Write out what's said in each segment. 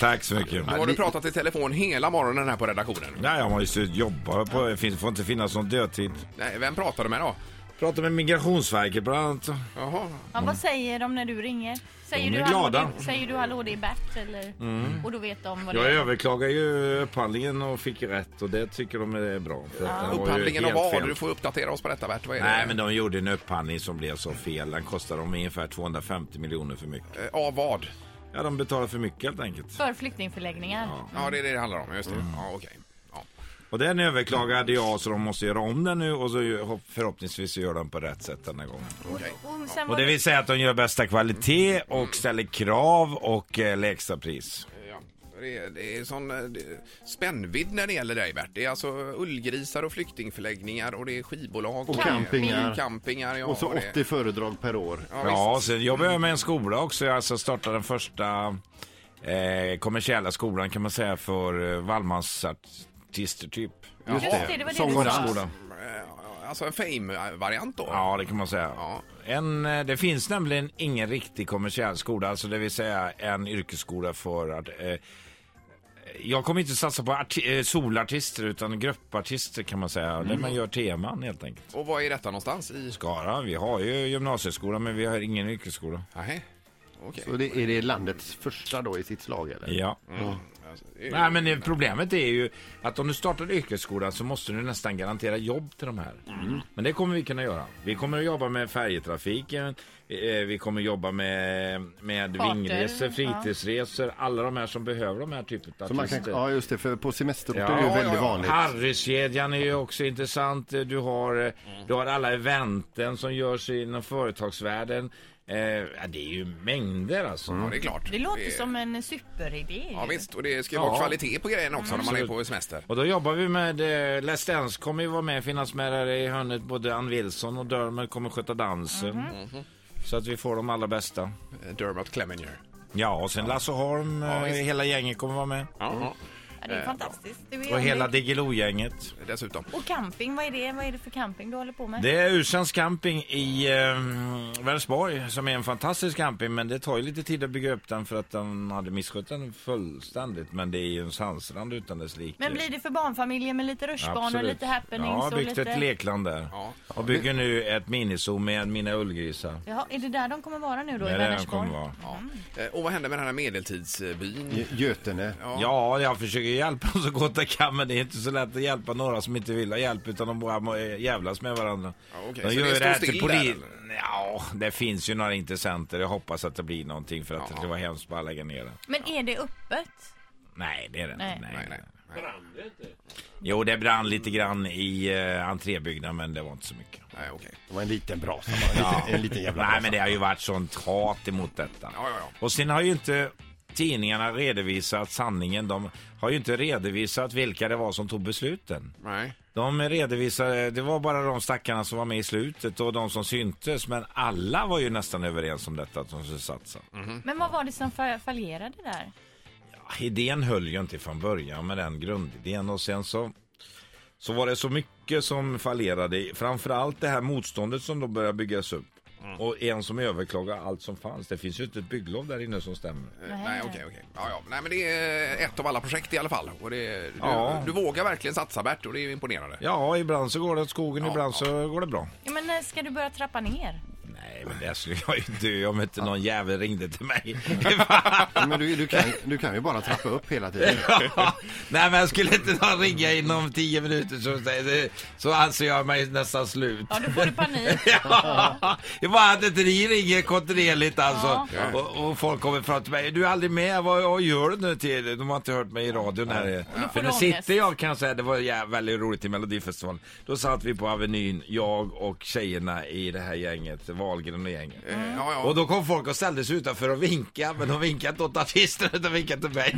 Tack så mycket. Nu har du pratat i telefon hela morgonen här på redaktionen. Nej, jag måste jobba på det. finns- får inte finnas någon dödtid. Nej, vem pratar du med då? Prata med Migrationsverket bland annat. Jaha. Ja, vad säger de när du ringer? Säger Mm. De är du, hallå, glada. Mm. det- säger du hallå det är Bert eller? Och då vet de vad det Jag är. överklagar ju upphandlingen och fick rätt och det tycker de är bra. För att den var ju Ah. Upphandlingen av helt vad? fel. Du får uppdatera oss på detta Bert. Vad är det? Nej, men de gjorde en upphandling som blev så fel. Den kostade dem ungefär 250 miljoner för mycket. Eh, Av vad? Ja, de betalade för mycket helt enkelt. För flyktingförläggningar. Ja, det är det det handlar om. Just Mm. det. Ja, okej. Ja. Och den överklagade jag så de måste göra om den nu och så hopp- förhoppningsvis gör de på rätt sätt denna gången. Och sen Och var det vill säga att de gör bästa kvalitet och ställer krav och eh, lägsta pris. Ja. Det är, det är sån eh, det- spännvidd när det gäller dig Bert. Det är alltså ullgrisar och flyktingförläggningar och det är skivbolag. Och det är- campingar. campingar ja, Och så det- 80 föredrag per år. Ja, Ja, visst. sen jobbar jag med en skola också. Jag alltså startade den första eh, kommersiella skolan kan man säga för eh, Wallmansartister typ. Just det, det var det du sa. Sångarskolan. Eh, Alltså en fame-variant då? Ja, det kan man säga. Ja. En, eh, det finns nämligen ingen riktig kommersiell skola, alltså det vill säga en yrkesskola för att eh, jag kommer inte satsa på arti- eh, solartister utan gruppartister kan man säga. Mm. Där man gör teman helt enkelt. Och var är detta någonstans? I... Skara, vi har ju gymnasieskola men vi har ingen yrkesskola. Nej. Okej. Så det, är det landets första då i sitt slag eller? Ja. Alltså, det är ju- Mm. Nej men eh, problemet är ju att om du startar yrkesskolan så måste du nästan garantera jobb till de här. Men det kommer vi kunna göra. Vi kommer att jobba med färjetrafiken, eh, vi kommer att jobba med, med Charter, vingresor, ja. fritidsresor, alla de här som behöver de här typen av Så man kan, artister. ja just det, för på semesterorter Ja. är det ju Ja, väldigt ja, ja. vanligt. Harriskedjan är ju också intressant. Du har, eh, du har alla eventen som görs inom företagsvärlden. Eh, ja, det är ju mängder alltså. Ja, det är klart. Det låter som en superidé. Ja, visst. Och det ska ju Ja. vara kvalitet på grejerna också när man är Absolut. på semester. Och då jobbar vi med eh, Let's Dance kommer ju vara med, finnas med där i hörnet. Både Ann Wilson och Dermot kommer sköta dansen. Så att vi får de allra bästa. Eh, Dermot Clemenger. Ja, och sen Lasse Holm, Ja, eh, visst. hela gänget kommer vara med. Ja. Ja, det är fantastiskt. Det är Och ju- hela Diggiloo-gänget. eh, Dessutom. Och camping, vad är det? Vad är det för camping du håller på med? Det är Usans camping i eh, Vänersborg som är en fantastisk camping men det tar ju lite tid att bygga upp den för att den hade misskött den fullständigt. Men det är ju en sandstrand utan dess like. Men blir det för barnfamiljer med lite rutschbanor, Absolut. lite happenings Ja, och byggt lite... ett lekland där. Ja. Och bygger nu ett miniso med mina ullgrisar. Jaha, är det där de kommer vara nu då Nej, i det här kommer Vänersborg? vara. Ja. Eh, Och vad hände med den här medeltidsbyn? Gö- Götene. Ja, jag försöker hjälpa så gott jag kan men det är inte så lätt att hjälpa några som inte vill ha hjälp utan de bara må- eh, jävlas med varandra. Ja, okej. De Så det ju står här still till där, poli- Ja, det finns ju några intressenter. Jag hoppas att det blir någonting för att Ja. det var hemskt bara att lägga ner det. Men är det öppet? Nej, det är det inte. Nej, Nej. nej. Jo, det brann lite grann i eh, entrébyggnaden men det var inte så mycket. Nej, okej. Det var en liten brasa bara. En liten- En liten jävla Nej, men brasa. det har ju varit sånt hat emot detta. Ja, ja, ja. Och sen har ju inte tidningarna redovisat sanningen. De har ju inte redovisat vilka det var som tog besluten. Nej. De redovisade, det var bara de stackarna som var med i slutet och de som syntes. Men alla var ju nästan överens om detta, att de skulle satsa. Men vad var det som fa- fallerade där? Ah, Idén höll ju inte från början med den grundidén och sen så så var det så mycket som fallerade. Framförallt det här motståndet som då började byggas upp. Och en som överklagade allt som fanns. Det finns ju inte ett bygglov där inne som stämmer. Eh, Nej, okej, okej. Ja, ja. Nej, men det är ett av alla projekt i alla fall. Och det, du, Ja. du vågar verkligen satsa, Bert, och det är ju imponerande. Ja, ibland så går det åt skogen, ibland så går det bra. Ja, men när ska du börja trappa ner? Nej, men det skulle jag ju dö om inte någon jävel ringde till mig. Men du, du, kan, du kan ju bara trappa upp hela tiden. Nej, men skulle inte någon ringa inom tio minuter så, så anser jag mig nästan slut. Ja, då får du panik. Ja, det är bara att inte ni ringer kontinuerligt alltså. Ja. Och, och folk kommer fram till mig. Du är aldrig med, vad, vad gör du nu till? De har inte hört mig i radion här. För du nu ångest. sitter jag kan jag säga, det var jä- väldigt roligt i Melodifestivalen. Då satt vi på Avenyn, jag och tjejerna i det här gänget, Wahlgren och gänget. Eh, Ja, ja. Och då kom folk och ställde sig utanför och vinkade, men de vinkade inte åt artisterna utan vinkade till mig.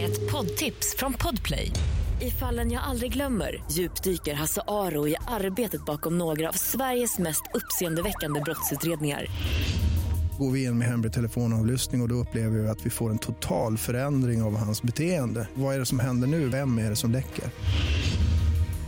Ett poddtips från Podplay. I fallen jag aldrig glömmer djupdyker Hasse Aro i arbetet bakom några av Sveriges mest uppseendeväckande brottsutredningar. Går vi in med hemlig telefonavlyssning och, och då upplever vi att vi får en total förändring av hans beteende. Vad är det som händer nu? Vem är det som läcker?